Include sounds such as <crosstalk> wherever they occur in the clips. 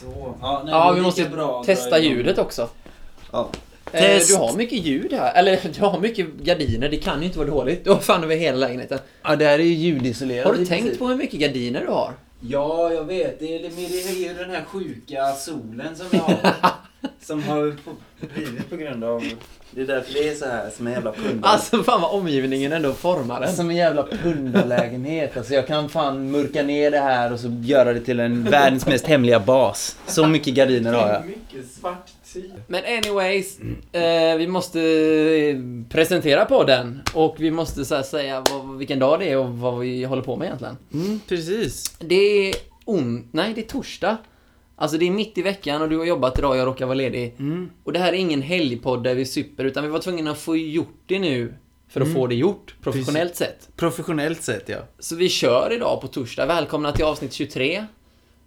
Så. Ja, nej, Ja, det är vi lika måste bra att dra testa igång. ljudet också. Ja. Eh, Test. Du har mycket ljud här. Eller <laughs> du har mycket gardiner. Det kan ju inte vara dåligt. Du har fan över hela lägenheten. ja, det här är ju ljudisolerat. Har du i tänkt princip. på hur mycket gardiner du har? Ja, jag vet. Det är, men det är ju den här sjuka solen som vi <laughs> har. som har på- blivit på grund av... Det är därför det är så här, som en jävla pundare. Alltså <laughs> fan vad omgivningen ändå formar den. Alltså, Som en jävla pundarlägenhet. Alltså jag kan fan mörka ner det här och så göra det till en världens mest hemliga bas. Så mycket gardiner har jag. mycket svart tid. Men anyways, eh, vi måste eh, presentera podden och vi måste så här, säga vad, vilken dag det är och vad vi håller på med egentligen. Mm, precis. Det är on... Nej, det är torsdag. Alltså det är mitt i veckan och du har jobbat idag och jag råkar vara ledig. Och det här är ingen helgpodd där vi super utan vi var tvungna att få gjort det nu för att få det gjort professionellt sett. Professionellt sett ja. Så vi kör idag på torsdag. Välkomna till avsnitt 23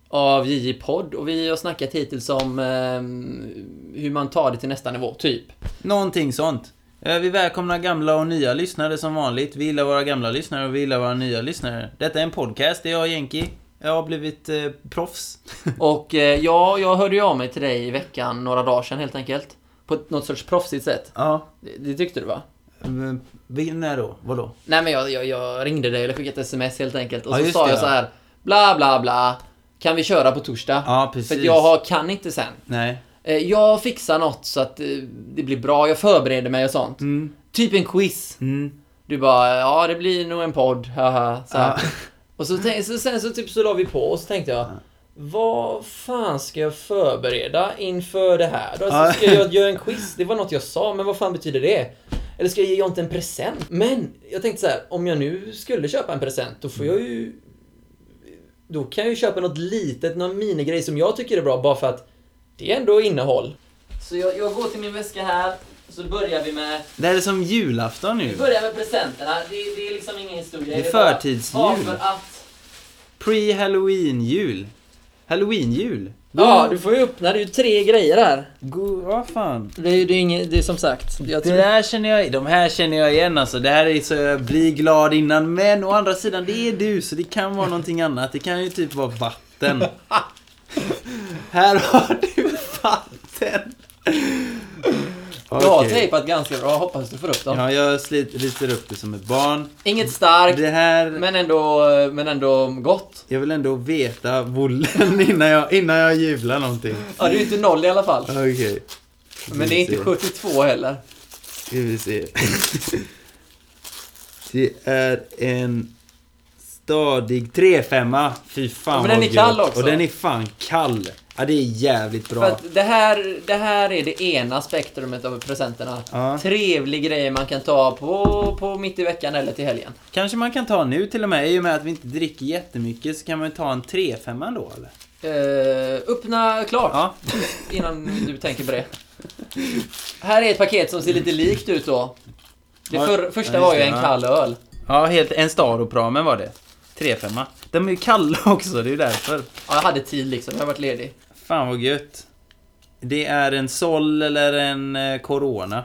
av JJ Podd och vi har snackat hittills om eh, hur man tar det till nästa nivå, typ. Någonting sånt. Eh, Vi välkomnar gamla och nya lyssnare som vanligt. Vi gillar våra gamla lyssnare och vi gillar våra nya lyssnare. Detta är en podcast, det är jag Jenki. Jag har blivit eh, <laughs> proffs. Och eh, ja, jag hörde ju av mig till dig i veckan, några dagar sedan helt enkelt. På ett- något sorts proffsigt sätt. ja. Det, det tyckte du va? Mm, vi- När då? Vadå? Nej men jag, jag, jag ringde dig eller skickade ett sms helt enkelt och Ja, så just sa det, jag ja. så här Bla bla bla Kan vi köra på torsdag? Ja, För precis. att jag har, kan inte sen. Nej. Eh, Jag fixar något så att eh, det blir bra, jag förbereder mig och sånt. Mm. Typ en quiz. Mm. Du bara, ja det blir nog en podd, haha. Så här. Ja. <laughs> Och så, tänk, så sen så typ så la vi på och så tänkte jag Vad fan ska jag förbereda inför det här då? Ja. Alltså, <laughs> ska jag göra en quiz? Det var något jag sa, men vad fan betyder det? Eller ska jag ge Jonte en present? Men jag tänkte så här, om jag nu skulle köpa en present, då får jag ju... Då kan jag ju köpa något litet, någon minigrej som jag tycker är bra bara för att det är ändå innehåll. Så jag, jag går till min väska här, så börjar vi med Det här är som julafton nu. vi börjar med presenterna. Det, det är liksom ingen historia. Det är bara- förtidsjul. Ja, för att... Pre-halloween-jul. Halloween-jul. Ja, du får ju öppna. Det är ju tre grejer här. God, vad fan. Det är ju det är inget, det är som sagt. Jag Det tror... där känner jag, de här känner jag igen alltså. Det här är så jag blir glad innan. Men å andra sidan, det är du så det kan vara någonting annat. Det kan ju typ vara vatten. <laughs> här har du vatten. Du har Okej. tejpat ganska bra. Hoppas du får upp dem. Ja, jag slit, ritar upp det som ett barn. Inget starkt, Det här, men, ändå, men ändå gott. jag vill ändå veta vollen <laughs> innan jag, innan jag jublar någonting. Ja, det är ju inte noll i alla fall. Okej. Men det är inte 72 heller. Ska vi se. Det är en stadig 3-5. Fy fan Ja, men den vad är kall gött. också. Och den är fan kall. Ja, det är jävligt bra. För att det här, det här är det ena spektrumet av presenterna. Ja. Trevlig grej man kan ta på, på mitt i veckan eller till helgen. Kanske man kan ta nu till och med. I och med att vi inte dricker jättemycket så kan man ju ta en 3-5 då eller? Eh, öppna klart. Ja. Innan du tänker på det. Här är ett paket som ser lite likt ut då. Det Ja, för, ja, första just var ju det, en ja. kall öl. Ja, helt, en Staropramen var det. 3-5. De är ju kalla också, det är ju därför. Ja, jag hade tid liksom, jag har varit ledig. Fan vad gött. Det är en Sol eller en eh, Corona.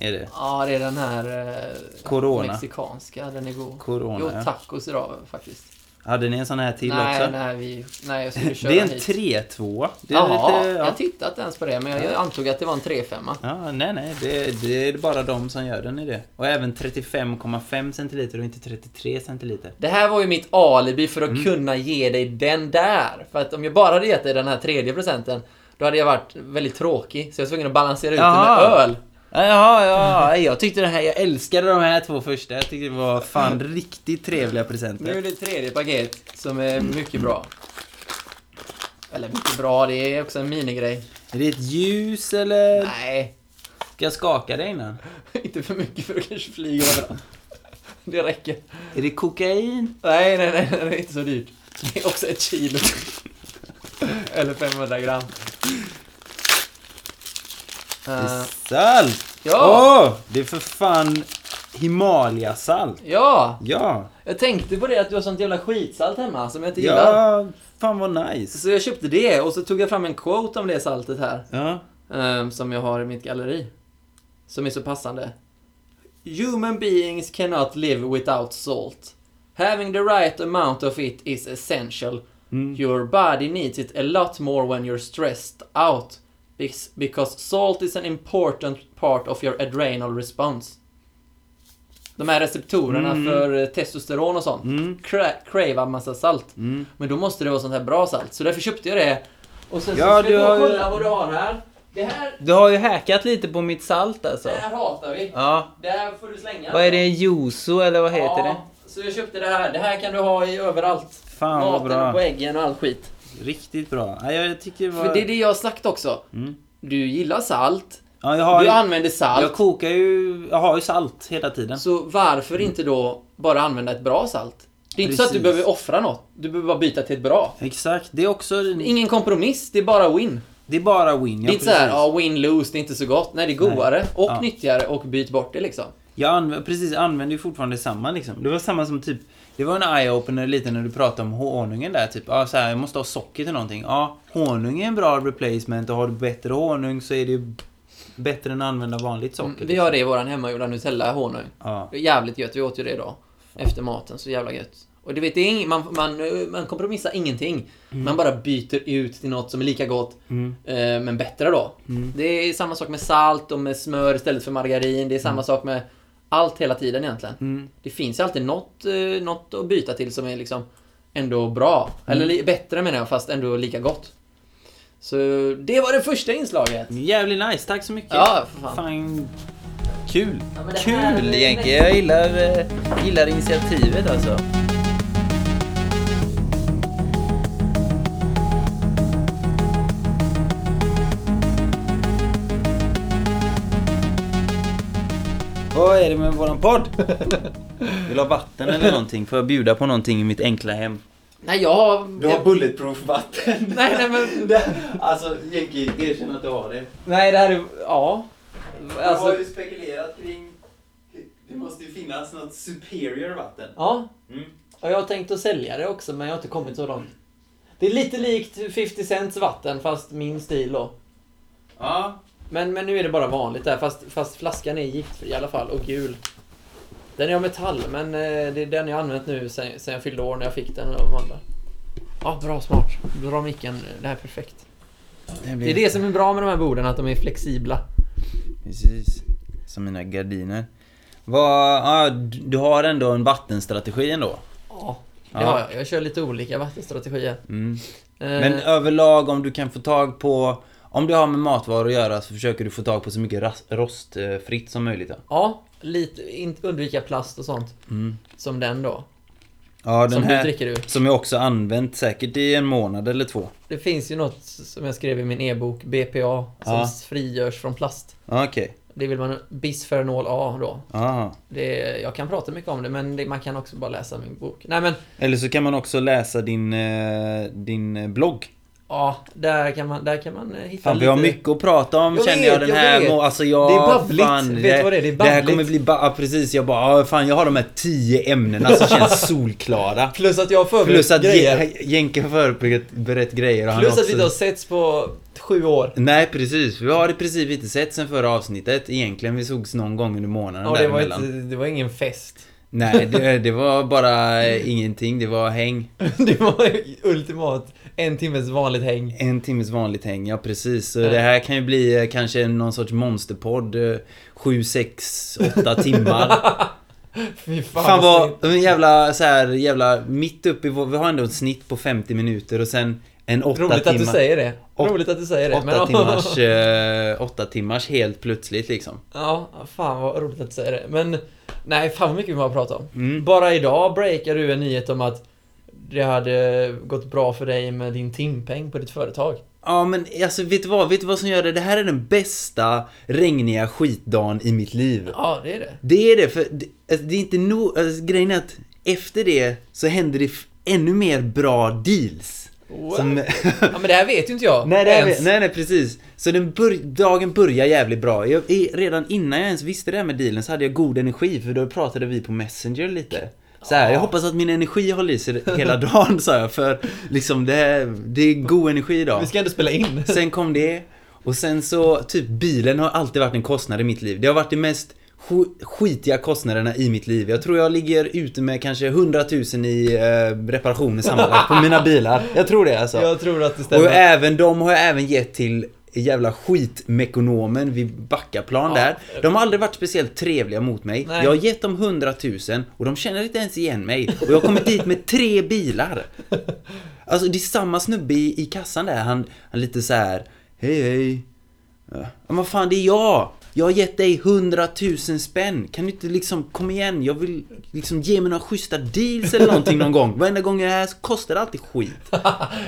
Är det. Ja, det är den här eh, Corona. mexikanska, den är god. Corona, jo, ja. tacos idag faktiskt. Hade ni en sån här till nej, också? nej, vi, nej, jag skulle köra Det är en hit. 3-2. Det är Jaha, lite, jag ja. har tittat ens på det, men jag antog att det var en 3-5. ja, nej, nej. Det, det är bara de som gör den i det. Och även 35,5 centiliter och inte 33 centiliter. Det här var ju mitt alibi för att Mm. kunna ge dig den där. För att om jag bara hade gett dig den här tredje presenten, då hade jag varit väldigt tråkig. Så jag var tvungen att balansera ut det Jaha. med öl. Jaha, ja. Jag tyckte det här, jag älskade de här två första. Jag tyckte det var fan riktigt trevliga Nu presenter. är det ett tredje paket som är mycket bra. Eller mycket bra, det är också en minigrej. Är det ett ljus eller? Nej, <laughs> Ska jag skaka dig innan? inte för mycket för då kanske flyger överallt. Det räcker. Är det kokain? Nej, nej, nej, det är inte så dyrt. Det är också ett kilo. <laughs> Eller 500 gram. Det Eh, är salt! ja, Åh, det är för fan Himalayasalt. ja! Ja, Jag tänkte på det att du har sånt jävla skitsalt hemma som jag inte gillar. ja, fan vad nice. Så jag köpte det och så tog jag fram en quote om det saltet här. Ja. ehm, som jag har i mitt galleri. Som är så passande. Human beings cannot live without salt. Having the right amount of it is essential. Mm. Your body needs it a lot more when you're stressed out bes- because salt is an important part of your adrenal response. De här receptorerna Mm. för eh, testosteron och sånt Mm. kra- cravar massa salt. Mm. Men då måste det vara sånt här bra salt. Så därför köpte jag det. Och sen Ja, så ska du du har ju- kolla vad du har här. Det här, Du har ju hackat lite på mitt salt alltså. det här hatar vi. Ja. Det här får du slänga. Vad är det? Juso eller vad heter det? ja, Så jag köpte det här. Det här kan du ha i överallt. Fan vad Maten och på bra. äggen och all skit. Riktigt bra. Ja, jag tycker det var... För det är det jag har sagt också. Mm. Du gillar salt. Ja, jag har Du ju... använder Jag salt. kokar ju... Jag har ju salt hela tiden. Så varför inte då bara använda ett bra salt? Det är inte så att du Mm. Precis. behöver offra något. Du behöver bara byta till ett bra. Exakt. Det är också... Ingen kompromiss, det är bara win. Det är bara win. det är Ja, inte såhär, precis. ja win lose, det är inte så gott. Nej, det är godare och Ja. nyttigare och byt bort det liksom. Jag anv- precis, jag använder ju fortfarande samma liksom. Det var samma som typ... Det var en eye-opener lite när du pratade om honungen där. Typ, ja, så här, jag måste ha socker till någonting. Ja, honung är en bra replacement och har du bättre honung så är det ju bättre än att använda vanligt socker. Mm, liksom. Vi har det i våran hemmagjorda Nutella honung. Ja. Det är jävligt gött, vi åt ju det idag. Efter maten, så jävla gött. Och du vet, det är ing- man, man, eh, man kompromissar ingenting. Man bara byter ut till något som är lika gott, Mm. eh, men bättre då. Mm. Det är samma sak med salt och med smör istället för margarin. Det är samma sak med allt hela tiden egentligen. Mm. Det finns ju alltid något, eh, något att byta till som är liksom ändå bra. Eller li- bättre menar jag, fast ändå lika gott. Så det var det första inslaget. Jävligt nice, tack så mycket. Ja, för fan. Fan. Kul. Ja, men det här Kul är- Jenke. Jag gillar, eh, gillar initiativet alltså. Vad är det med våran podd? <laughs> Vill du ha vatten eller någonting? Får jag bjuda på någonting i mitt enkla hem? Nej, jag har... Du har bulletproof vatten. <laughs> Nej, nej, men... Alltså, Jänke, erkänn att du har det. Nej, det här är... Ja. Jag Alltså... har ju spekulerat kring... Det måste ju finnas något superior vatten. Ja. Mm. Och jag har tänkt att sälja det också, men jag har inte kommit så långt. Det är lite likt 50 Cents vatten, fast min stil då. Ja. Men, men nu är det bara vanligt där, fast, fast flaskan är giftfri i alla fall, och gul. Den är av metall, men eh, det är den jag har använt nu sen, sen jag fyllde år när jag fick den av Amanda. Ja, bra smart. Bra micken, det här är perfekt. Det är det som är bra med de här borden, att de är flexibla. Precis. Som mina gardiner. Vad, ja, du du har ändå en vattenstrategi ändå. Ja, det Ja. har jag. Jag kör lite olika vattenstrategier. Mm. Eh, Men överlag om du kan få tag på om du har med matvaror att göra så försöker du få tag på så mycket ras- rostfritt som möjligt. Ja, Ja, lite, inte undvika plast och sånt. mm. Som den då. ja den som här du dricker ur. som jag också använt säkert i en månad eller två. Det finns ju något som jag skrev i min e-bok, BPA, som Ja. s- frigörs från plast. Ja, Okej, Det vill man, bisfenol A då. aha. Det, är- jag kan prata mycket om det, men det, man kan också bara läsa min bok. Nej men, Eller så kan man också läsa din, eh, din eh, blogg. ja, där kan man, där kan man eh, hitta Fan, vi lite... har mycket att prata om Jag känner vet, jag den jag här vet. må- Alltså jag... Det är babbligt. Fan, Vet du vad det är? Det är Det här babbligt. kommer bli ba- ja, precis. Jag bara, ah, fan jag har de här tio ämnena <laughs> som känns solklara. Plus att jag har förberett Plus att grejer. Jen- Jenke har förberett berett grejer och han Plus att vi också- inte har setts på sju år. Nej precis, vi har i princip inte sett sen förra avsnittet egentligen. Vi sågs någon gång under månaden Ja, det var, däremellan. inte, det var ingen fest. <laughs> Nej, det, det var bara eh, ingenting. Det var häng. Det var ultimat en timmes vanligt häng. En timmes vanligt häng, ja precis. Så det här kan ju bli eh, kanske någon sorts monsterpodd. eh, 7, 6, 8 timmar. Fy fan, Fan vad... vad en jävla så här, jävla mitt uppe i vår, Vi har ändå ett snitt på 50 minuter och sen en 8 Roligt timmar. att du säger det. Åt- Roligt att du säger det. Åtta timmars, eh, åtta timmars helt plötsligt liksom. Ja, fan vad roligt att du säger det. Men, nej, fan vad mycket vi har pratat om. Mm. Bara idag breakar du en nyhet om att det hade gått bra för dig med din timpeng på ditt företag. Ja men alltså vet du vad, vet du vad som gör det? Det här är den bästa regniga skitdagen i mitt liv. Ja, det är det. Det är det, för det, alltså, det är inte nog, alltså, grejen är att efter det så händer det f- ännu mer bra deals. What? Som- <laughs> Ja, men det här vet ju inte jag nej, det här, ens. nej, nej precis. Så den bör, dagen börjar jävligt bra. Jag, i, redan innan jag ens visste det här med dealen så hade jag god energi för då pratade vi på Messenger lite. Så här, jag hoppas att min energi håller i sig <laughs> hela dagen sa jag för liksom det, här- det är god energi idag. Vi ska ändå spela in. Sen kom det. Och sen så, typ bilen har alltid varit en kostnad i mitt liv. Det har varit det mest sk- skitiga kostnaderna i mitt liv. Jag tror jag ligger ute med kanske 100 000 i eh, reparationer sammanlagt på mina bilar. Jag tror det alltså. Jag tror att det Och <laughs> stämmer. även de har jag även gett till jävla skitmekonomen vid Backaplan Ja. där. De har aldrig varit speciellt trevliga mot mig. Nej. Jag har gett dem 100 000 och de känner inte ens igen mig. Och jag har kommit dit med tre bilar. Alltså det är samma snubbe i, i kassan där. Han, han lite så här. Hej hej. Ja, Men vad fan det är jag. Jag har gett dig 100 000 spänn. Kan du inte liksom, kom igen. Jag vill liksom ge mig några schyssta deals eller någonting någon gång. Varenda gång jag är här så kostar det alltid skit.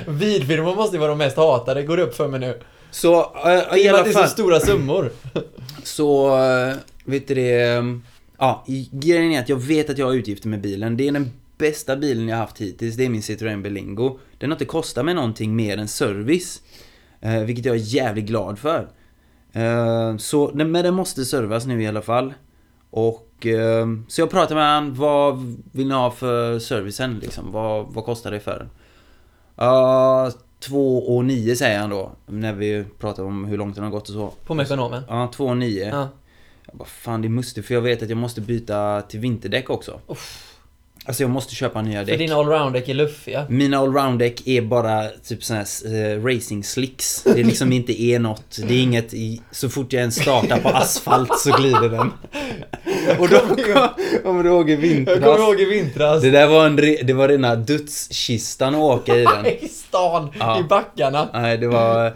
Videofilmer måste ju vara de mest hatade, går det upp för mig nu. Så eh, I i alla Det är så fall stora summor. så, eh, vet du det, ehm, ja, i- grejen är att jag vet att jag har utgifter med bilen. Det är den bästa bilen jag haft hittills, det är min Citroën Berlingo. Den har inte kostat mig någonting mer än service. eh, Vilket jag är jävligt glad för. Eh, Så, den- men den måste servas nu i alla fall. Och, ehm, så jag pratade med han, vad vill ni ha för servicen liksom? Vad, vad kostar det för den? Ja, 2 och 9 säger han då. När vi pratar om hur långt den har gått och så. På Mekonomen. Ja, 2 och 9. Ja. Jag bara, fan det är muster för jag vet att jag måste byta till vinterdäck också. Alltså jag måste köpa nya För däck. Mm. dina allround-däck är luffiga. Mina allround-däck är bara typ såna här eh, racing slicks. Det liksom inte är något. Det är inget i, Så fort jag ens startar på asfalt så glider den. Och då kommer du ihåg i Jag kommer vintras. ihåg i vintras. Det där var en re, det var rena dödskistan att åka i den. <laughs> I stan, Ja. i backarna. Nej, det var...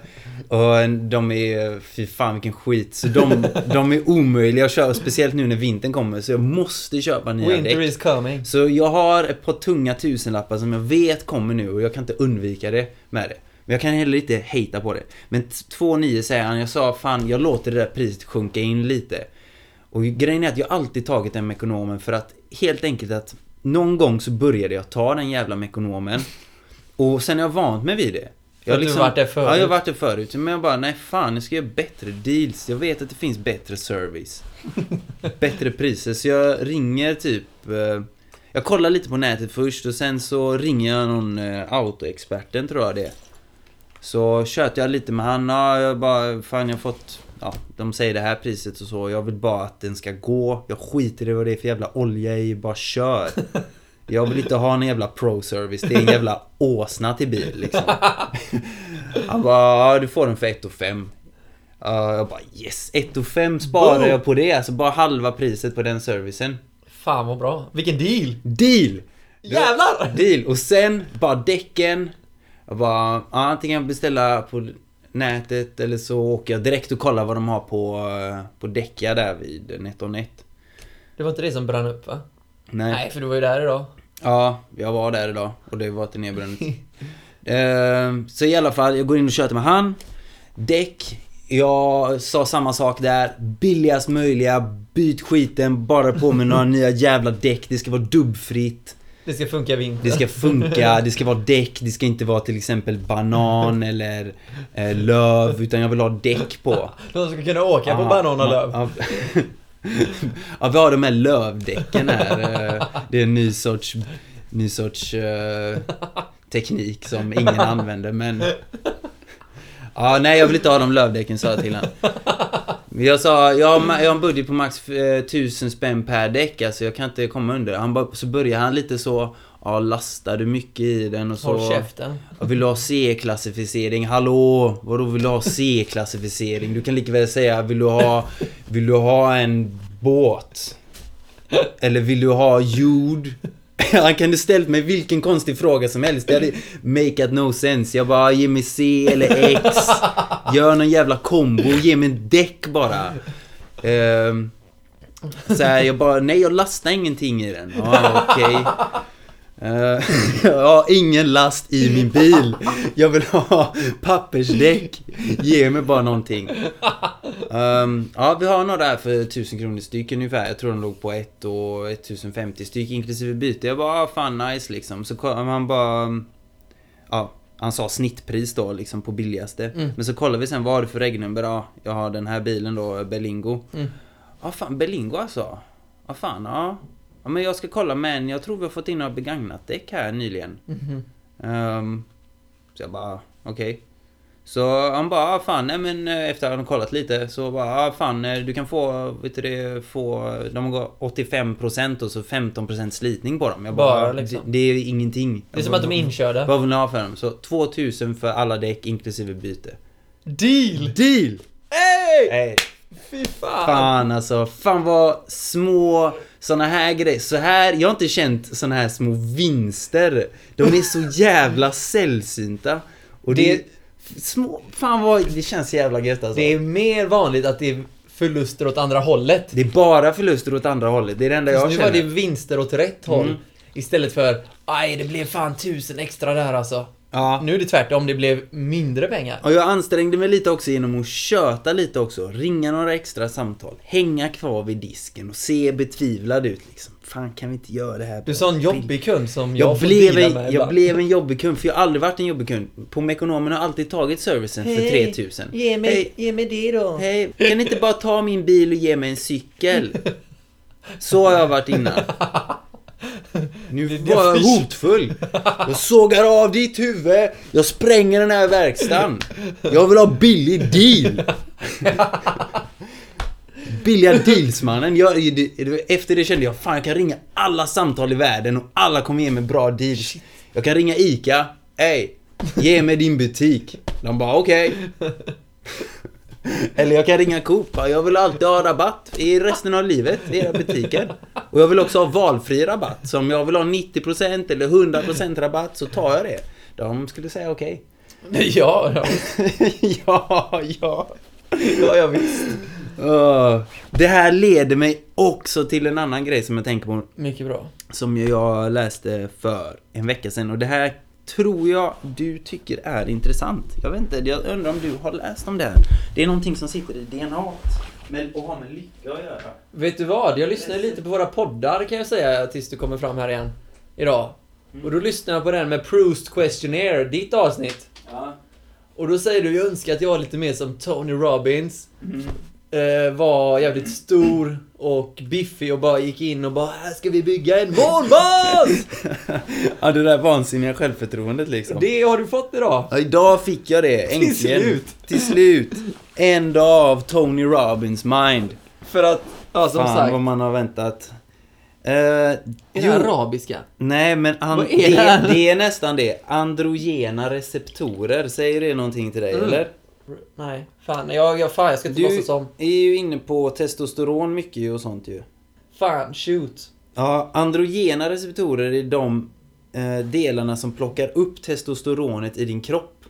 Och en- de är... Fy fan vilken skit. Så de, de är omöjliga att köra, speciellt nu när vintern kommer. Så jag måste köpa nya Winter däck. is coming. Så jag har ett par tunga tusenlappar som jag vet kommer nu och jag kan inte undvika det med det. Men jag kan heller inte hejta på det. Men t- 2,9 säger han, jag sa fan jag låter det där priset sjunka in lite. Och grejen är att jag alltid tagit den Mekonomen för att helt enkelt att någon gång så började jag ta den jävla Mekonomen. Och sen har jag vant mig vid det. Jag liksom- För att du varit där förut. Ja, jag har varit där förut. Men jag bara, nej fan, nu ska jag göra bättre deals. Jag vet att det finns bättre service. bättre priser. Så jag ringer typ... Eh, jag kollar lite på nätet först och sen så ringer jag någon eh, autoexperten tror jag det är. Så tjötar jag lite med han. Ja, jag bara, fan jag har fått... Ja, de säger det här priset och så. Jag vill bara att den ska gå. Jag skiter i vad det är för jävla olja i. Bara kör. Jag vill inte ha en jävla pro-service. Det är en jävla åsna till bil liksom. Han bara, ja, du får den för 1 5. jag bara yes, 1 5 sparar Boom. jag på det. Alltså bara halva priset på den servicen. Fan vad bra. Vilken deal! Deal! Jävlar! Deal! Och sen bara däcken. Jag bara, ja, antingen jag beställa på nätet eller så åker jag direkt och kollar vad de har på, eh, på däcka där vid NetOnNet. Det var inte det som brann upp va? Nej. Nej, för du var ju där idag. Ja, jag var där idag och det var till nedbrunt. <laughs> Ehm, så i alla fall, jag går in och köter med han. Däck. Jag sa samma sak där. Billigast möjliga. Byt skiten, bara på med några nya jävla däck. Det ska vara dubbfritt. Det ska funka i vinter. Det ska funka, det ska vara däck. Det ska inte vara till exempel banan eller eh, löv. Utan jag vill ha däck på. De ska kunna åka på Ja, bananalöv. Ja, ja. <laughs> ja, vi har de här lövdäcken här. Eh, Det är en ny sorts, ny sorts eh, teknik som ingen använder, men... Ja, nej, jag vill inte ha de lövdäcken, sa jag till honom. Men Jag sa, jag har, ma- jag har en budget på max eh, 1000 spänn per däck, alltså jag kan inte komma under. Han bara, så börjar han lite så, ja, lastar du mycket i den och så... Håll <laughs> käften. Jag vill ha C-klassificering, hallå? Vadå vill du ha C-klassificering? Du kan lika väl säga, vill du ha, vill du ha en båt? Eller vill du ha jord? <laughs> Han kunde ställt mig vilken konstig fråga som helst. Det hade make it no sense. Jag bara, ge mig C eller X. Gör någon jävla kombo, ge mig en däck bara. Ehm, så här, jag bara, nej jag lastar ingenting i den. Ah, okej. Eh, <laughs> jag har ingen last i min bil. Jag vill ha pappersdäck. Ge mig bara någonting. Ehm, ja, vi har några där för 1000 kronor styck ungefär. Jag tror de låg på 1 och 1050 styck inklusive byte. Jag bara, ah, fan nice liksom. Så kom han bara... Ja, han sa snittpris då liksom på billigaste. Men så kollar vi sen, vad har du för regnummer? Ja, jag har den här bilen då, Berlingo. Ja fan, Berlingo alltså. Ja fan, ja. Ja men jag ska kolla men jag tror vi har fått in några begagnat däck här nyligen. Ehm, så jag bara, okej. Så han bara, ah, fan, nej men eh, efter att han kollat lite så bara, ah, fan, eh, du kan få, vet du det, få, de går 85% och så 15% slitning på dem. Jag bara, Bara, liksom. det, det är ju ingenting. Det är som att de är inkörda. Vad vill ni ha för dem? Så 2000 för alla däck inklusive byte. Deal! Deal! Hey! Nej, Fy fan! fan alltså. Fan vad små såna här grejer. Så här, jag har inte känt såna här små vinster. De är så jävla sällsynta. Och det, Det- är små, fan vad, det känns jävla gött alltså. Det är mer vanligt att det är förluster åt andra hållet. Det är bara förluster åt andra hållet. Det Mm. är det enda Fast jag nu var det känner. vinster åt rätt håll. Istället för, aj det blev fan tusen extra där alltså. Ja. Nu är det tvärtom, det blev mindre pengar. Och jag ansträngde mig lite också genom att köta lite också. Ringa några extra samtal. Hänga kvar vid disken och se betvivlad ut liksom. Fan kan vi inte göra det här? Du sa en jobbig kund som jag, jag, får blev deala en, med jag ibland. blev en jobbig kund, för jag har aldrig varit en jobbig kund. På Mekonomen har jag alltid tagit servicen för 3000. Ge mig, Hej. ge mig det då. Hej, kan ni inte bara ta min bil och ge mig en cykel? Så har jag varit innan. Nu det var jag jag <laughs> hotfull. Jag sågar av ditt huvud. Jag spränger den här verkstaden. Jag vill ha billig deal. Billiga dealsmannen. Jag, efter det kände jag, fan jag kan ringa alla samtal i världen och alla kommer ge mig bra deals. Jag kan ringa ICA. Ey, ge mig din butik. De bara okej. Eller jag kan ringa Coop. Jag vill alltid ha rabatt i resten av livet i era butiker. Och jag vill också ha valfri rabatt. Så om jag vill ha 90% eller 100% rabatt så tar jag det. De skulle säga <laughs> okej. <laughs> Ja, ja. ja, ja. ja, ja visst. Öh, det här leder mig också till en annan grej som jag tänker på. Mycket bra. Som jag läste för en vecka sedan. Och det här tror jag du tycker är intressant. Jag vet inte, jag undrar om du har läst om det här. Det är någonting som sitter i DNA. Men, och har med lycka att göra. Vet du vad? Jag lyssnade lite på våra poddar kan jag säga tills du kommer fram här igen. Idag. Och då lyssnade jag på den med Proust Questionnaire, ditt avsnitt. Ja. Och då säger du, jag önskar att jag var lite mer som Tony Robbins. Eh, var jävligt stor och biffig och bara gick in och bara, här ska vi bygga en <laughs> månbas! ja, det där vansinniga självförtroendet liksom. Det har du fått idag. Ja, idag fick jag det, äntligen. slut. Till slut. En dag av Tony Robbins mind. För att, ja som Fan sagt. vad man har väntat. Eh, Är jo. det arabiska? Nej men an- Vad det, är det det, här? är nästan det. Androgena receptorer, säger det någonting till dig Mm. eller? Nej, fan jag, jag, fan, jag ska inte Du låtsas som. är ju inne på testosteron mycket ju och sånt ju. Fan, shoot. Ja, androgena receptorer är de eh, delarna som plockar upp testosteronet i din kropp.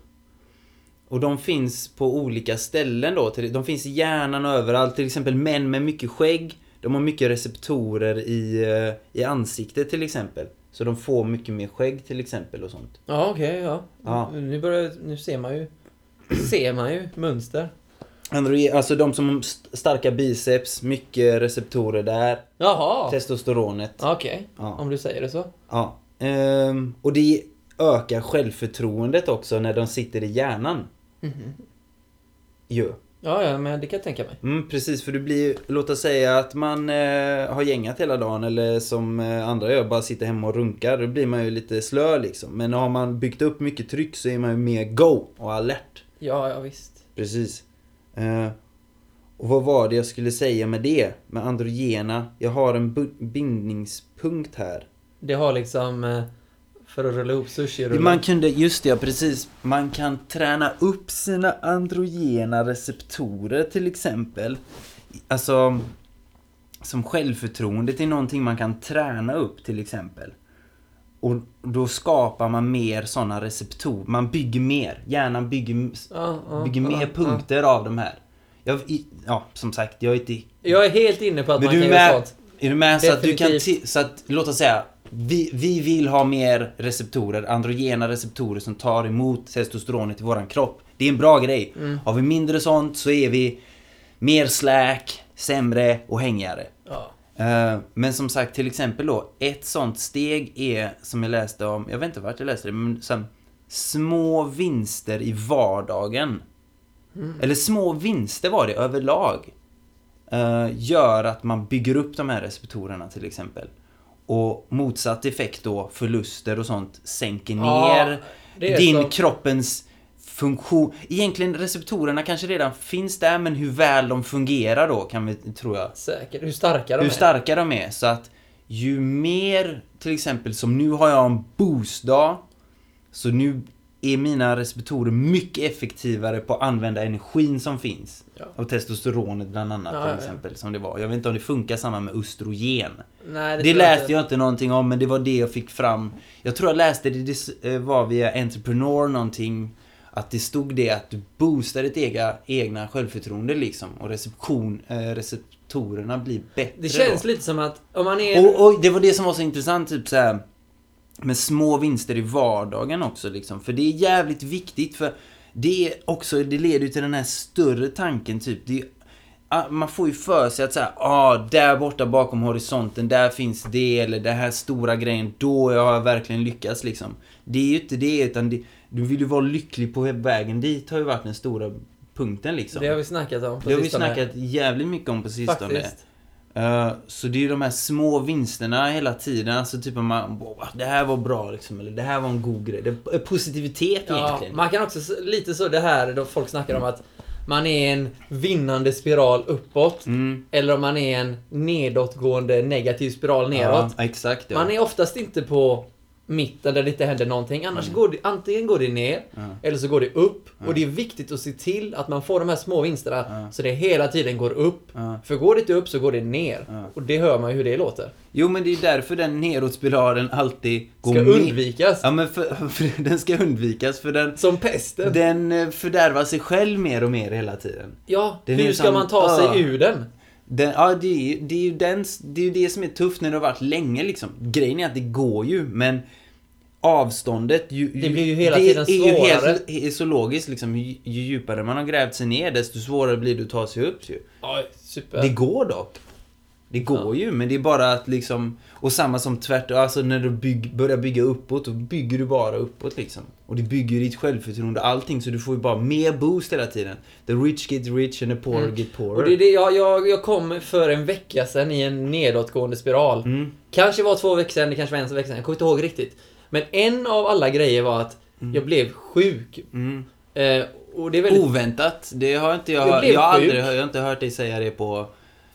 Och de finns på olika ställen då. till- De finns i hjärnan och överallt. Till exempel män med mycket skägg. De har mycket receptorer i, eh, i ansiktet till exempel. Så de får mycket mer skägg till exempel och sånt. Ja, okej, ja. Ja. Nu börjar, nu ser man ju. Ser man ju mönster. Androgen, alltså de som har st- starka biceps, mycket receptorer där. Jaha! Testosteronet. Okej, Ja. om du säger det så. Ja. Ehm, och det ökar självförtroendet också när de sitter i hjärnan. Mhm. Jo. Ja, ja, men det kan jag tänka mig. Mm, precis, för du blir låt oss säga att man eh, har gängat hela dagen eller som eh, andra gör, bara sitter hemma och runkar. Då blir man ju lite slö liksom. Men har man byggt upp mycket tryck så är man ju mer go och alert. Ja, ja visst. Precis. Eh, och vad var det jag skulle säga med det? Med androgena? Jag har en bu- bindningspunkt här. Det har liksom... eh, För att rulla ihop sushi Man kunde, just det, ja, precis. Man kan träna upp sina androgena receptorer till exempel. Alltså, som självförtroendet är någonting man kan träna upp till exempel. Och då skapar man mer sådana receptorer. Man bygger mer. Hjärnan bygger, Ja, ja, bygger ja, mer ja. punkter av de här. Jag, i, ja, som sagt, jag är inte Jag är helt inne på att men man du kan är göra med, sånt. är du med så att du kan, Definitivt. ti- så att, låt oss säga, vi, vi vill ha mer receptorer, androgena receptorer som tar emot testosteronet i våran kropp. Det är en bra grej. Mm. Har vi mindre sånt så är vi mer slack, sämre och hängigare. Ja. Eh, Men som sagt, till exempel då, ett sånt steg är, som jag läste om, jag vet inte vart jag läste det, men så här, små vinster i vardagen. Mm. Eller små vinster var det överlag. Eh, gör att man bygger upp de här receptorerna till exempel. Och motsatt effekt då, förluster och sånt, sänker Ja, ner det är din så. kroppens funktion. Egentligen receptorerna kanske redan finns där, men hur väl de fungerar då kan vi, tror jag. Säkert. Hur starka de Hur är. starka de är. Så att ju mer, till exempel som nu har jag en boostdag. Så nu är mina receptorer mycket effektivare på att använda energin som finns. Ja. Av testosteronet bland annat Ja, ja, till ja. exempel som det var. Jag vet inte om det funkar samma med östrogen. Nej, Det, tror jag läste jag inte någonting om men det var det jag fick fram. Jag tror jag läste det, det eh, var via Entrepreneur någonting. Att det stod det att du boostar ditt egna, egna självförtroende liksom. Och reception, eh, receptorerna blir bättre Det känns då. lite som att om man är... Och, och det var det som var så intressant, typ så här med små vinster i vardagen också liksom. För det är jävligt viktigt för det är också, det leder ju till den här större tanken typ. Det är, ah, man får ju för sig att säga, ah, där borta bakom horisonten, där finns det eller den här stora grejen, då har jag verkligen lyckats liksom. Det är ju inte det utan det, du vill ju vara lycklig på vägen dit har ju varit den stora punkten liksom. Det har vi snackat om på Det har vi sistone. snackat jävligt mycket om på sistone. Faktiskt. Eh, Så det är ju de här små vinsterna hela tiden, alltså typ om man wow, det här var bra liksom, eller det här var en god grej. Det är positivitet Ja, egentligen. man kan också s- lite så det här då folk snackar om att man är en vinnande spiral uppåt Mm. eller om man är en nedåtgående negativ spiral neråt. Ja, exakt ja. Man är oftast inte på mitten där det inte händer någonting. Annars går det, antingen går det ner Ja. eller så går det upp. Och det är viktigt att se till att man får de här små vinsterna Ja. så det hela tiden går upp. Ja. För går det inte upp så går det ner. Ja. Och det hör man ju hur det låter. Jo men det är därför den nedåtspiralen alltid går Ska ner. undvikas. Ja men för, <laughs> för, den ska undvikas för den, Som pesten. den eh, fördärvar sig själv mer och mer hela tiden. Ja, Det är hur ju ska som- man ta Ah. sig ur den? Den, ja, det är, ju- det är ju den, det är ju det som är tufft när det har varit länge liksom. Grejen är att det går ju, men avståndet... Ju, Det blir ju hela tiden Det är ju svårare. helt är så logiskt liksom. Ju, ju djupare man har grävt sig ner, desto svårare blir det att ta sig upp ju. Ja, super. Det går dock. Det går ju, men det är bara att liksom... Och samma som tvärtom, alltså när du bygg, börjar bygga uppåt, då bygger du bara uppåt liksom. Och det bygger ju ditt självförtroende och allting, så du får ju bara mer boost hela tiden. The rich get rich and the poor Mm. get poorer. Och det är det, jag, jag, jag kom för en vecka sedan i en nedåtgående spiral. Mm. Kanske var två veckor sedan, det kanske var en vecka sedan. Jag kommer inte ihåg riktigt. Men en av alla grejer var att jag blev sjuk. Mm. Eh, och det är väldigt... Oväntat. Det har inte jag, Jag jag, blev har sjuk. aldrig, jag har inte hört dig säga det på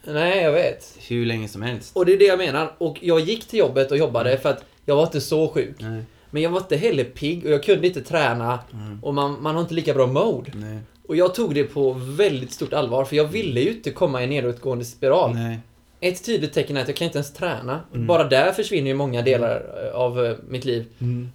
Oh. Nej, jag vet. hur länge som helst. Och det är det jag menar. Och jag gick till jobbet och jobbade Mm. för att jag var inte så sjuk. Nej, Men jag var inte heller pigg och jag kunde inte träna. Mm. Och man, man har inte lika bra mode. nej, Och jag tog det på väldigt stort allvar för jag ville ju inte komma i en nedåtgående spiral. nej. Ett tydligt tecken är att jag kan inte ens träna. Bara där försvinner ju många delar eh, av eh, mitt liv.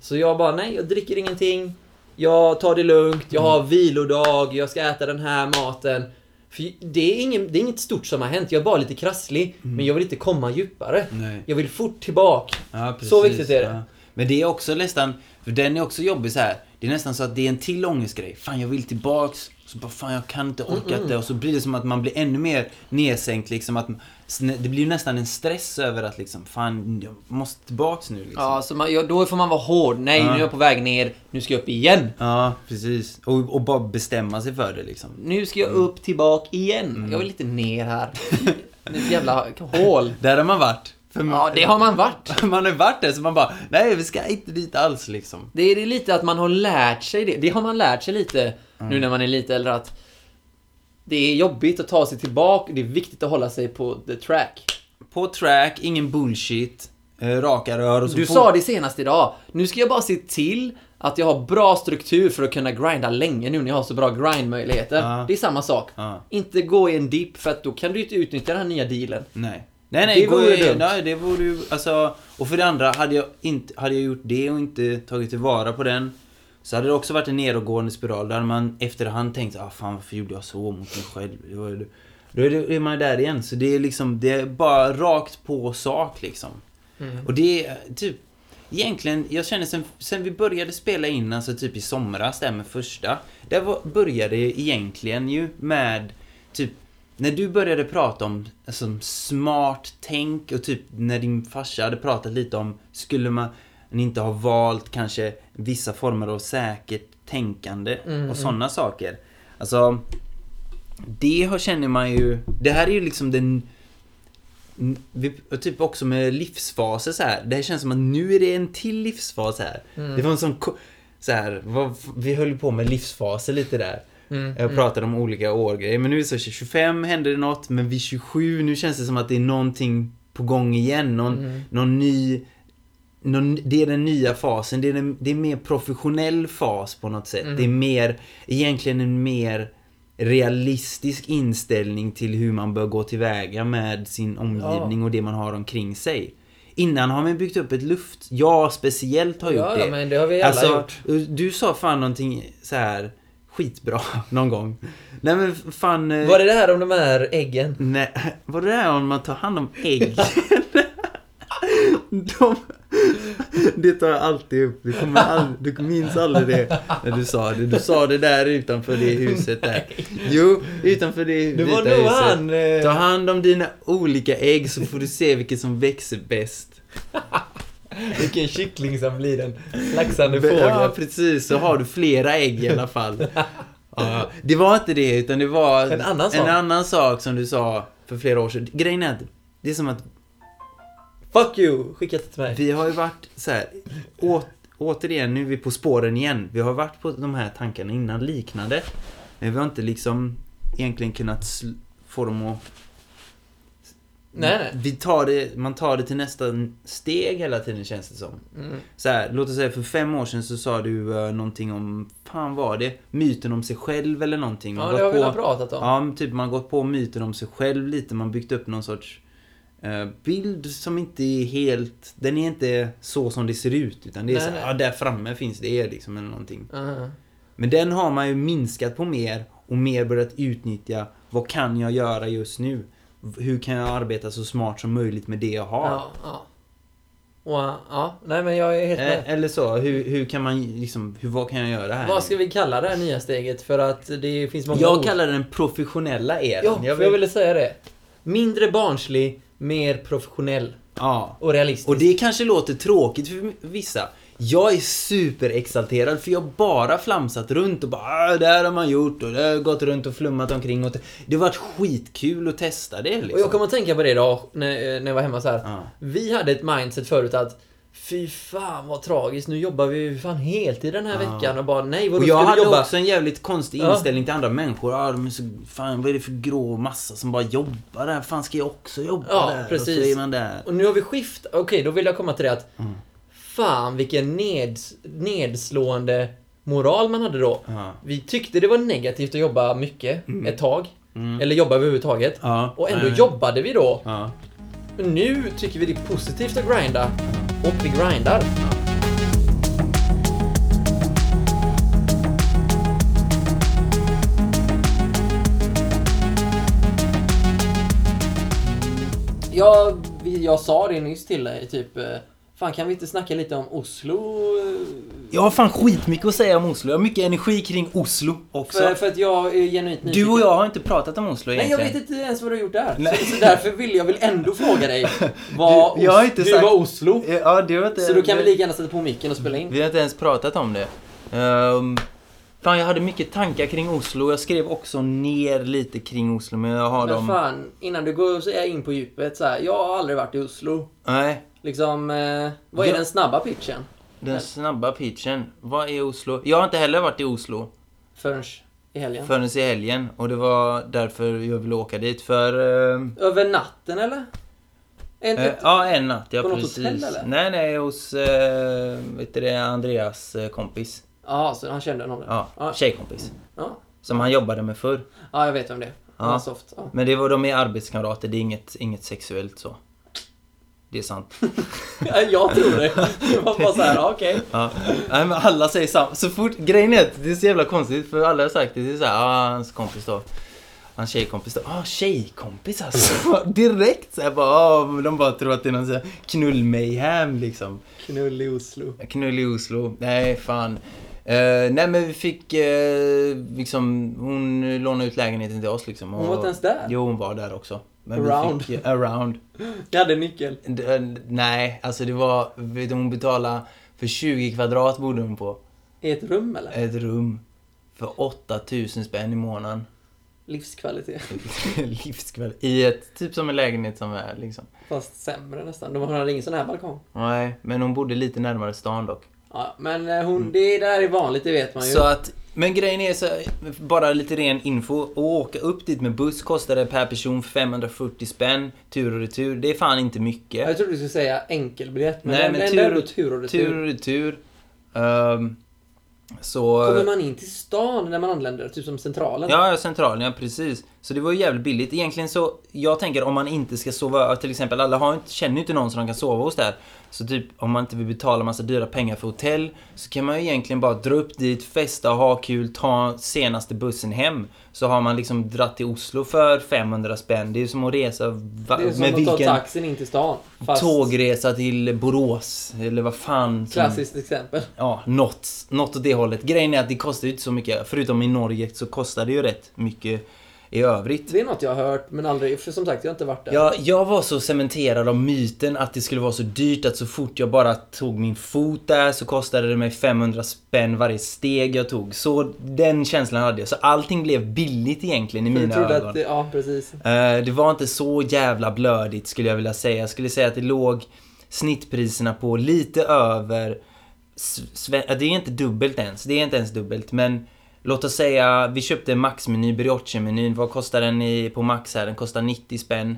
Så jag bara, nej, jag dricker ingenting. Jag tar det lugnt, jag har vilodag, jag ska äta den här maten. För det är, ingen, det är inget stort som har hänt, jag är bara lite krasslig. Men jag vill inte komma djupare. nej. Jag vill fort tillbaka. Ja, precis, Så viktigt är det. Ja. Men det är också nästan, för den är också jobbig så här. Det är nästan så att det är en till ångestgrej. Fan, jag vill tillbaks. Så bara, fan, jag kan inte orka inte. Och så blir det som att man blir ännu mer nedsänkt liksom. Att, det blir ju nästan en stress över att liksom, fan, jag måste tillbaks nu liksom. så man, då får man vara hård. Nej, Ja. nu är jag på väg ner, nu ska jag upp igen. Ja, precis. Och, och bara bestämma sig för det liksom. Nu ska jag upp tillbaka igen. Jag vill inte ner här. <laughs> Ett jävla hål. Där har man varit. För Ja, det har man varit. <laughs> Man har varit där så man bara, nej vi ska inte dit alls liksom. Det är det lite att man har lärt sig det. Det har man lärt sig lite nu när man är lite äldre att det är jobbigt att ta sig tillbaka. Det är viktigt att hålla sig på the track. På track, ingen bullshit, eh, raka rör och så Du på- sa det senast idag. Nu ska jag bara se till att jag har bra struktur för att kunna grinda länge nu när jag har så bra grindmöjligheter. Ja. Det är samma sak. Ja. Inte gå i en dipp för att då kan du inte utnyttja den här nya dealen. Nej. Nej, nej, Det vore gå- dumt. nej, det vore ju, alltså, och för det andra, hade jag, inte, hade jag gjort det och inte tagit tillvara på den så hade det också varit en nedåtgående spiral. Där hade man efterhand tänkt, ah fan varför gjorde jag så mot mig själv? Det var, ju- då är, det, är man där igen. Så det är liksom, det är bara rakt på sak liksom. Mm. Och det är typ, egentligen, jag känner sen, sen vi började spela in, alltså typ i somras där med första. Där var, började det egentligen ju med typ när du började prata om alltså, smart tänk och typ när din farsa hade pratat lite om skulle man inte ha valt kanske vissa former av säkert tänkande och sådana saker. Alltså, det har känner man ju, det här är ju liksom den N- vi, och typ också Mm. med livsfaser så här. Det här känns som att nu är det en till livsfas här. Det var en sån ko- så här, vad, vi höll på med livsfaser lite där. Mm, Jag pratade om olika årgrejer, men nu är det så 25 hände det något, men vid 27 nu känns det som att det är någonting på gång igen. Någon, Mm. någon ny... Någon, det är den nya fasen, det är, den, det är en mer professionell fas på något sätt. Mm. Det är mer, egentligen en mer realistisk inställning till hur man bör gå tillväga med sin omgivning och det man har omkring sig. Innan har man byggt upp ett luft. Jag speciellt har gjort Ja, det. Alltså, ja, men det har vi alla gjort. Du sa fan någonting så här skitbra <laughs> någon gång. Nej men fan... eh, Var det det här om de här äggen? Nej, <laughs> var det där om man tar hand om <laughs> äggen? <laughs> De, <laughs> det tar jag alltid upp. Du, kommer aldrig, du minns aldrig det när du sa det. Du sa det där utanför det huset <laughs> där. Jo, utanför det Det var vita nog huset. han, eh. Ta hand om dina olika ägg så får du se vilket som växer bäst. Vilken kyckling som blir den laxande Ja, fågeln. precis. Så har du flera ägg i alla <laughs> fall. Ja, det var inte det, utan det var En annan sak. en annan sak som du sa för flera år sedan. Grejen är att det är som att Fuck you! Skicka det till mig. Vi har ju varit så här, å, återigen, nu är vi på spåren igen. Vi har varit på de här tankarna innan, liknande. Men vi har inte liksom egentligen kunnat sl- få dem att... Nej, nej. Vi tar det, man tar det till nästa steg hela tiden känns det som. Mm. Så här, låt oss säga för fem år sedan så sa du uh, någonting om, fan var det? Myten om sig själv eller någonting. Man Ja, har det har gått vi på- väl pratat om. Ja, men typ man har gått på myten om sig själv lite. Man har byggt upp någon sorts eh, bild som inte är helt... Den är inte så som det ser ut. Utan det är Nej, så här, nej. ja, där framme finns det liksom eller någonting. Ah. Men den har man ju minskat på mer och mer börjat utnyttja. Vad kan jag göra just nu? V- Hur kan jag arbeta så smart som möjligt med det jag har? Ja, ja. Wow, ja. Nej, men jag är helt med. Eh, eller så, hur, hur kan man liksom, hur, vad kan jag göra här? Vad ska vi kalla det här nya steget? För att det finns många Jag ord. kallar den professionella eran. Ja, jag för vill... jag ville säga det. Mindre barnslig, mer professionell ja. och realistisk. Och det kanske låter tråkigt för vissa. Jag är superexalterad för jag har bara flamsat runt och bara "Ah, det här har man gjort och det har jag gått runt och flummat omkring och te-" det har varit skitkul att testa det liksom. Och jag kommer att tänka på det idag när, när jag var hemma så här. Ja. Vi hade ett mindset förut att Fy fan vad tragiskt, nu jobbar vi ju fan heltid den här Ja. veckan och bara nej vadå Och jag ska hade du jobba? också en jävligt konstig Ja. inställning till andra människor. Ah, de är så, fan vad är det för grå massa som bara jobbar där? Fan ska jag också jobba Ja, där? Och så precis. är man där. Och nu har vi skift, okej då vill jag komma till det att Mm. Fan vilken neds, nedslående moral man hade då. Ja. Mm. Vi tyckte det var negativt att jobba mycket ett tag. Eller jobba överhuvudtaget. Ja. Och ändå Nej, nej. jobbade vi då. Ja. Men nu tycker vi det är positivt att grinda. Och vi grindar. Jag, jag sa det nyss till dig, typ eh, Fan kan vi inte snacka lite om Oslo? eh, Jag har fan skitmycket att säga om Oslo. Jag har mycket energi kring Oslo också. För, för att jag är genuint Du och jag har inte pratat om Oslo Nej, egentligen. jag vet inte ens vad du har gjort där. Nej. Så, så därför vill jag väl ändå <laughs> fråga dig. Vad Du- jag har inte du sagt- var Oslo. Ja, det var inte... Så då kan vi lika gärna sätta på micken och spela in. Vi har inte ens pratat om det. Ehm, fan, jag hade mycket tankar kring Oslo. Jag skrev också ner lite kring Oslo, men jag har Men dem... fan, innan du går så är jag in på djupet så här. Jag har aldrig varit i Oslo. Nej, Liksom, eh, vad är Ja. den snabba pitchen? den snabba pitchen. Vad är Oslo? Jag har inte heller varit i Oslo Förrän i helgen. förrän i helgen och det var därför jag ville åka dit. För... ehm, Över natten eller? En, eh, ett, ja, en natt. Ja, På något precis. hotell, eller? Nej, nej, hos... Uh, vet du det? Andreas eh, kompis. ja, så han kände någon. Ja, ja. tjejkompis. ja. Som han jobbade med förr. Ja, jag vet om det. Han Ja. var soft. Ja. <laughs> Men det var de är arbetskamrater, det är inget, inget sexuellt så. Det är sant. Ja, jag tror det. Det var bara så här, ja, okej. Ja. Nej men alla säger samma. Så fort, grejen är att det är så jävla konstigt för alla har sagt det. Det är såhär, ah, hans kompis då. Hans tjejkompis då. Ah, tjejkompis alltså. <laughs> Direkt såhär bara, ah, men de bara tror att det är någon sån här knull-mayhem liksom. Knull i Oslo. Knull i Oslo. Nej, fan. Eh, nej men vi fick eh, liksom, hon lånade ut lägenheten till oss liksom. Hon var inte ens där. Jo, hon var där också. Men Around. Vi fick, eh, around. Jag hade nyckel. D- eh, Nej, alltså det var, vet du, hon betalade för 20 kvadrat bodde hon på. I ett rum eller? Ett rum. För 8000 spänn i månaden. <laughs> Livskvalitet. Livskväll. I ett, typ som en lägenhet som är liksom. Fast sämre nästan. De har ingen sån här balkong. Nej, men hon bodde lite närmare stan dock. Ja, men eh, Mm. hon, det där är vanligt, det vet man ju. Så att, men grejen är så här, bara lite ren info. Att åka upp dit med buss kostar det per person 540 spänn. Tur och retur. Det är fan inte Ja, mycket. Jag trodde du skulle säga enkelbiljett, men, Nej, Nej, men men tur- ändå tur och retur. Tur och retur. Ehm, så... Kommer man in till stan när man anländer, typ som centralen? Ja, ja, centralen, ja precis. Så det var ju jävligt billigt. Egentligen så, jag tänker om man inte ska sova, till exempel alla har, inte- känner ju inte någon som de kan sova hos där. Så typ om man inte vill betala massa dyra pengar för hotell så kan man ju egentligen bara dra upp dit, festa, ha kul, ta senaste bussen hem. Så har man liksom dratt till Oslo för 500 spänn. Det är ju som att resa va, det är som med att ta vilken taxin in till stan. Fast tågresa till Borås eller vad fan. som- klassiskt exempel. Ja, något, något åt det hållet. Grejen är att det kostar ju inte så mycket. Förutom i Norge så kostar det ju rätt mycket i övrigt. Det är något jag har hört, men aldrig, för som sagt, jag har inte varit där. Jag, jag var så cementerad av myten att det skulle vara så dyrt att så fort jag bara tog min fot där så kostade det mig 500 spänn varje steg jag tog. Så den känslan hade jag. Så allting blev billigt egentligen i För du mina trodde ögon. att, det- ja precis. Eh, Det var inte så jävla blödigt skulle jag vilja säga. Jag skulle säga att det låg snittpriserna på lite över... s- sve- ja, Det är inte dubbelt ens. Det är inte ens dubbelt. Men låt oss säga, vi köpte en maxmeny, brioche-menyn. Vad kostar den i, på max här? Den kostar 90 spänn.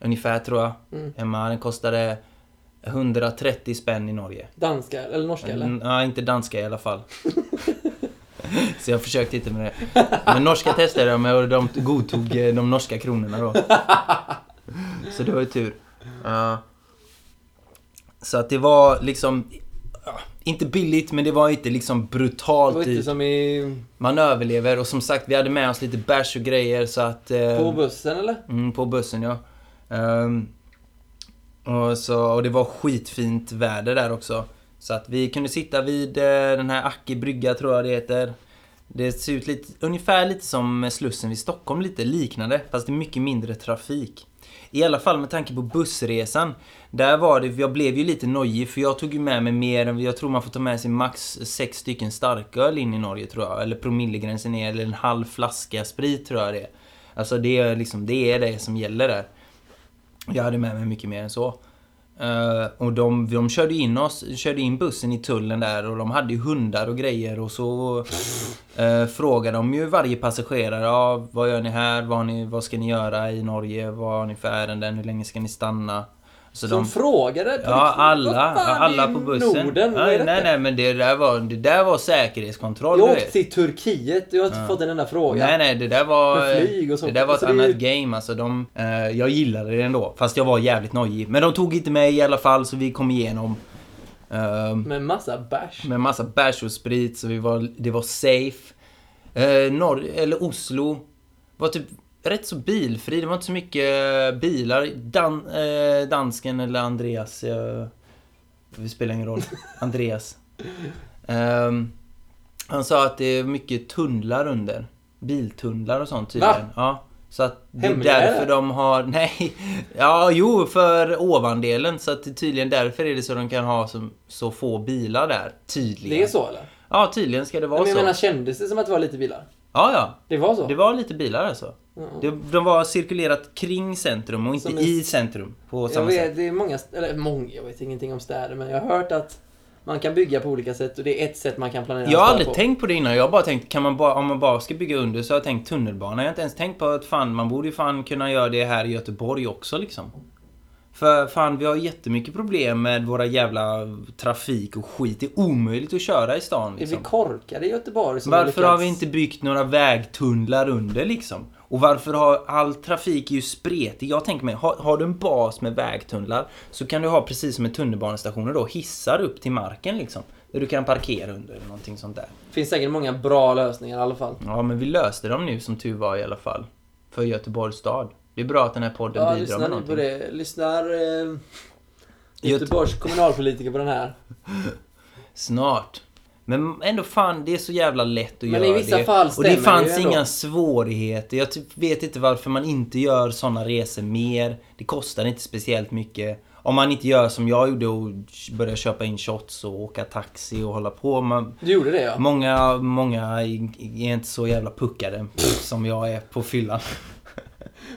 Ungefär tror jag. Mm. Emma, den kostade 130 spänn i Norge. Danska, eller norska eller? Mm, Ja, inte danska i alla fall. <laughs> Så jag försökte inte med det. Men norska testade jag med och de godtog eh, de norska <laughs> kronorna då. Så det var ju tur. Ja. Så att det var liksom... ja, Inte billigt, men det var inte liksom Det brutalt var inte dyrt. som i... Man överlever och som sagt, vi hade med oss lite bärs och grejer så att... eh, På bussen eller? Mm, på bussen ja. Ehm, och, så, och det var skitfint väder där också. Så att vi kunde sitta vid eh, den här Aki brygga tror jag det heter. Det ser ut lite, ungefär lite som Slussen vid Stockholm, lite liknande. Fast det är mycket mindre trafik. I alla fall med tanke på bussresan. Där var det, jag blev ju lite nojig för jag tog ju med mig mer än, jag tror man får ta med sig max sex stycken starköl in i Norge tror jag. Eller promillegränsen är, eller en halv flaska sprit tror jag det är. Alltså det är liksom, det är det som gäller där. Jag hade med mig mycket mer än så. Eh, och de, de körde in oss, körde in bussen i tullen där och de hade ju hundar och grejer och så eh, frågade de ju varje passagerare, ja, vad gör ni här, vad, har ni, vad ska ni göra i Norge, vad har ni för ärenden, hur länge ska ni stanna? Så Som de- frågade? på Ja, riktigt, alla. vad fan Alla är på bussen. Norden? Vad nej, är nej, detta? nej, men det där var, det där var säkerhetskontroll. Jag har du åkt vet. till Turkiet och jag har inte fått en enda fråga. Nej, nej, det där var... Med flyg och sånt. Det där var ett Så det är annat ju- game. Alltså, de, eh, jag gillade det ändå, fast jag var jävligt nojig. Men de tog inte mig i alla fall, så vi kom igenom. Ehm, Med massa bärs. med massa bärs och sprit, så vi var, det var safe. Eh, norr, eller Oslo var typ rätt så bilfri. Det var inte så mycket eh, bilar. Dan, eh, dansken eller Andreas. Eh, det spelar <laughs> ingen roll. Andreas. Ehm, han sa att det är mycket tunnlar under. Biltunnlar och sånt tydligen. Va? Ja. Så att det är Hemliga, därför eller? de har... <laughs> Nej. Ja, jo, för ovandelen. Så att det är tydligen därför är det så de kan ha så, så få bilar där. Tydligen. Det är så eller? Ja, tydligen ska det vara Men jag så. menar, kändes det som att det var lite bilar? Ja, ja. Det var så? Det var lite bilar alltså. Ja. Det, de var cirkulerat kring centrum och inte Som en- i centrum på Jag samma sätt. vet, det är många, st- eller många, jag vet ingenting om städer, men jag har hört att man kan bygga på olika sätt och det är ett sätt man kan planera Jag har en stad aldrig på. tänkt på det innan. Jag har bara tänkt, kan man bara, om man bara ska bygga under så har jag tänkt tunnelbana. Jag har inte ens tänkt på att fan, man borde ju fan kunna göra det här i Göteborg också liksom. För fan, vi har jättemycket problem med våra jävla trafik och skit. Det är omöjligt att köra i stan Är vi liksom. korkade i Göteborg? Som Varför har lyckats- vi inte byggt några vägtunnlar under liksom? Och varför har all trafik är ju spretig? Jag tänker mig, har, har du en bas med vägtunnlar så kan du ha precis som med tunnelbanestationer då hissar upp till marken liksom. Där du kan parkera under eller någonting sånt där. finns säkert många bra lösningar i alla fall. Ja, men vi löste dem nu som tur var i alla fall. För Göteborgs stad. Det är bra att den här podden Ja, bidrar lyssnar med ni på någonting. det? Lyssnar eh, Göte- Göteborgs kommunalpolitiker på den här? Snart. Men ändå fan, det är så jävla lätt att Men göra i vissa det. fall Och det stämmer det fanns ju ändå. inga svårigheter. Jag typ vet inte varför man inte gör såna resor mer. Det kostar inte speciellt mycket. Om man inte gör som jag gjorde och börjar köpa in shots och åka taxi och hålla på. Man, Du gjorde det ja. många, många är inte så jävla puckade som jag är på fyllan.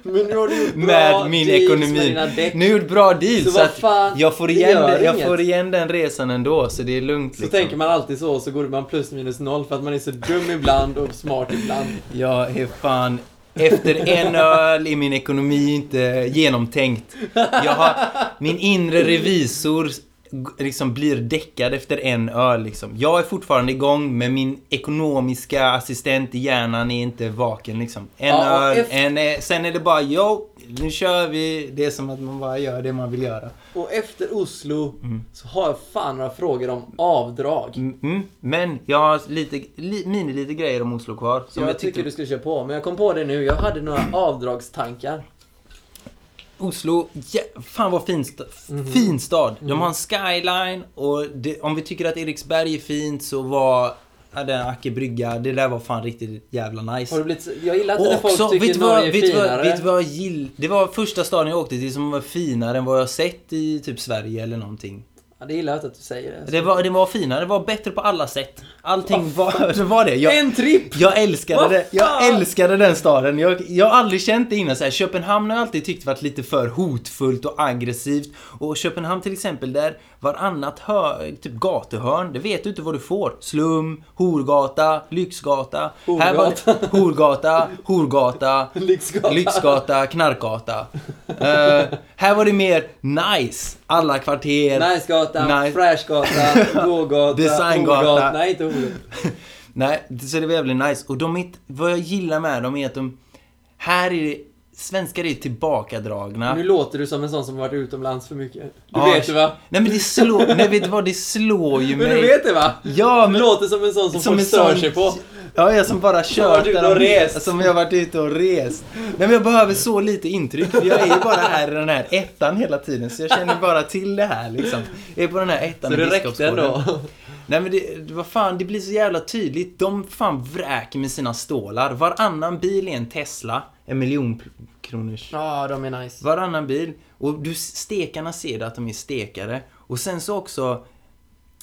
Men nu har du gjort bra med min deals med ekonomi. dina däck. Nu har jag gjort bra deal Så så, vad att fan, jag, får det igen, gör den- jag inget. får igen den resan ändå så det är lugnt. liksom. Så tänker man alltid så, och så går man plus minus noll för att man är så dum ibland och smart ibland. Jag är fan... Efter en öl är min ekonomi inte genomtänkt. Jag har, min inre revisor g- liksom blir däckad efter en öl. Liksom. Jag är fortfarande igång men min ekonomiska assistent i hjärnan är inte vaken. Liksom. En Ja, och öl, efter- en, eh, sen är det bara jo, nu kör vi. Det är som att man bara gör det man vill göra. Och efter Oslo så har jag fan några frågor om avdrag. Mm, Mm, men jag har lite, li, mini lite grejer om Oslo kvar. Som jag, jag tycker tyckte du skulle köra på, men jag kom på det nu. Jag hade några avdragstankar. Oslo, jä- fan vad fin, sta- Mhm. fin stad. De har en skyline och det, om vi tycker att Eriksberg är fint så var ja, den Acke brygga, det där var fan riktigt jävla nice. Har du blivit, så- jag gillar inte Och när folk också, vet tycker du vad, Norge är vet du vad, finare. vet du vad jag gill, Det var första staden jag åkte till som var finare än vad jag sett i typ Sverige eller någonting. ja, det gillar jag inte att du säger det. Det var, det var finare, det var bättre på alla sätt. Allting <laughs> var, det var det. Jag, En tripp! Typ. jag älskade, Vad det. jag fan? älskade den staden. Jag, jag har aldrig känt det innan. Så här, Köpenhamn har jag alltid tyckt varit lite för hotfullt och aggressivt. Och Köpenhamn till exempel, där varannat hör, typ gatuhörn, det vet du inte vad du får. Slum, Horgata, Lyxgata. Här var det- <laughs> horgata, Horgata, <laughs> Lyxgata. Lyxgata, Knarkgata. Eh, här var det mer nice. Alla kvarter. Nicegata, Nice. <laughs> Frashgata, Gågata, Designgata. Horgata. Nej, inte ordet. <laughs> Nej, det- så det var jävligt nice. Och de är, inte- vad jag gillar med dem är att de... Här är det... Svenskar är tillbakadragna. Nu låter du som en sån som har varit utomlands för mycket. Du Ja, vet det va? Nej men det slår... Nej vet du vad? Det slår ju Men mig. du vet det va? Ja, Du men... låter som en sån som, folk en stör sån- sig på. Ja, jag som bara har varit kört ute där och de- rest. Som jag har varit ute och rest. Nej men jag behöver så lite intryck. För jag är ju bara här i den här ettan hela tiden. Så jag känner bara till det här liksom. Jag är på den här ettan Så i det räckte Biskopsgården. ändå. <laughs> Nej men det, det- vad fan, det blir så jävla tydligt. De fan vräker med sina stålar. Varannan bil är en Tesla. En miljon pl- kronors. Ja, de är nice. Varannan bil. Och du, stekarna ser det att de är stekare. Och sen så också,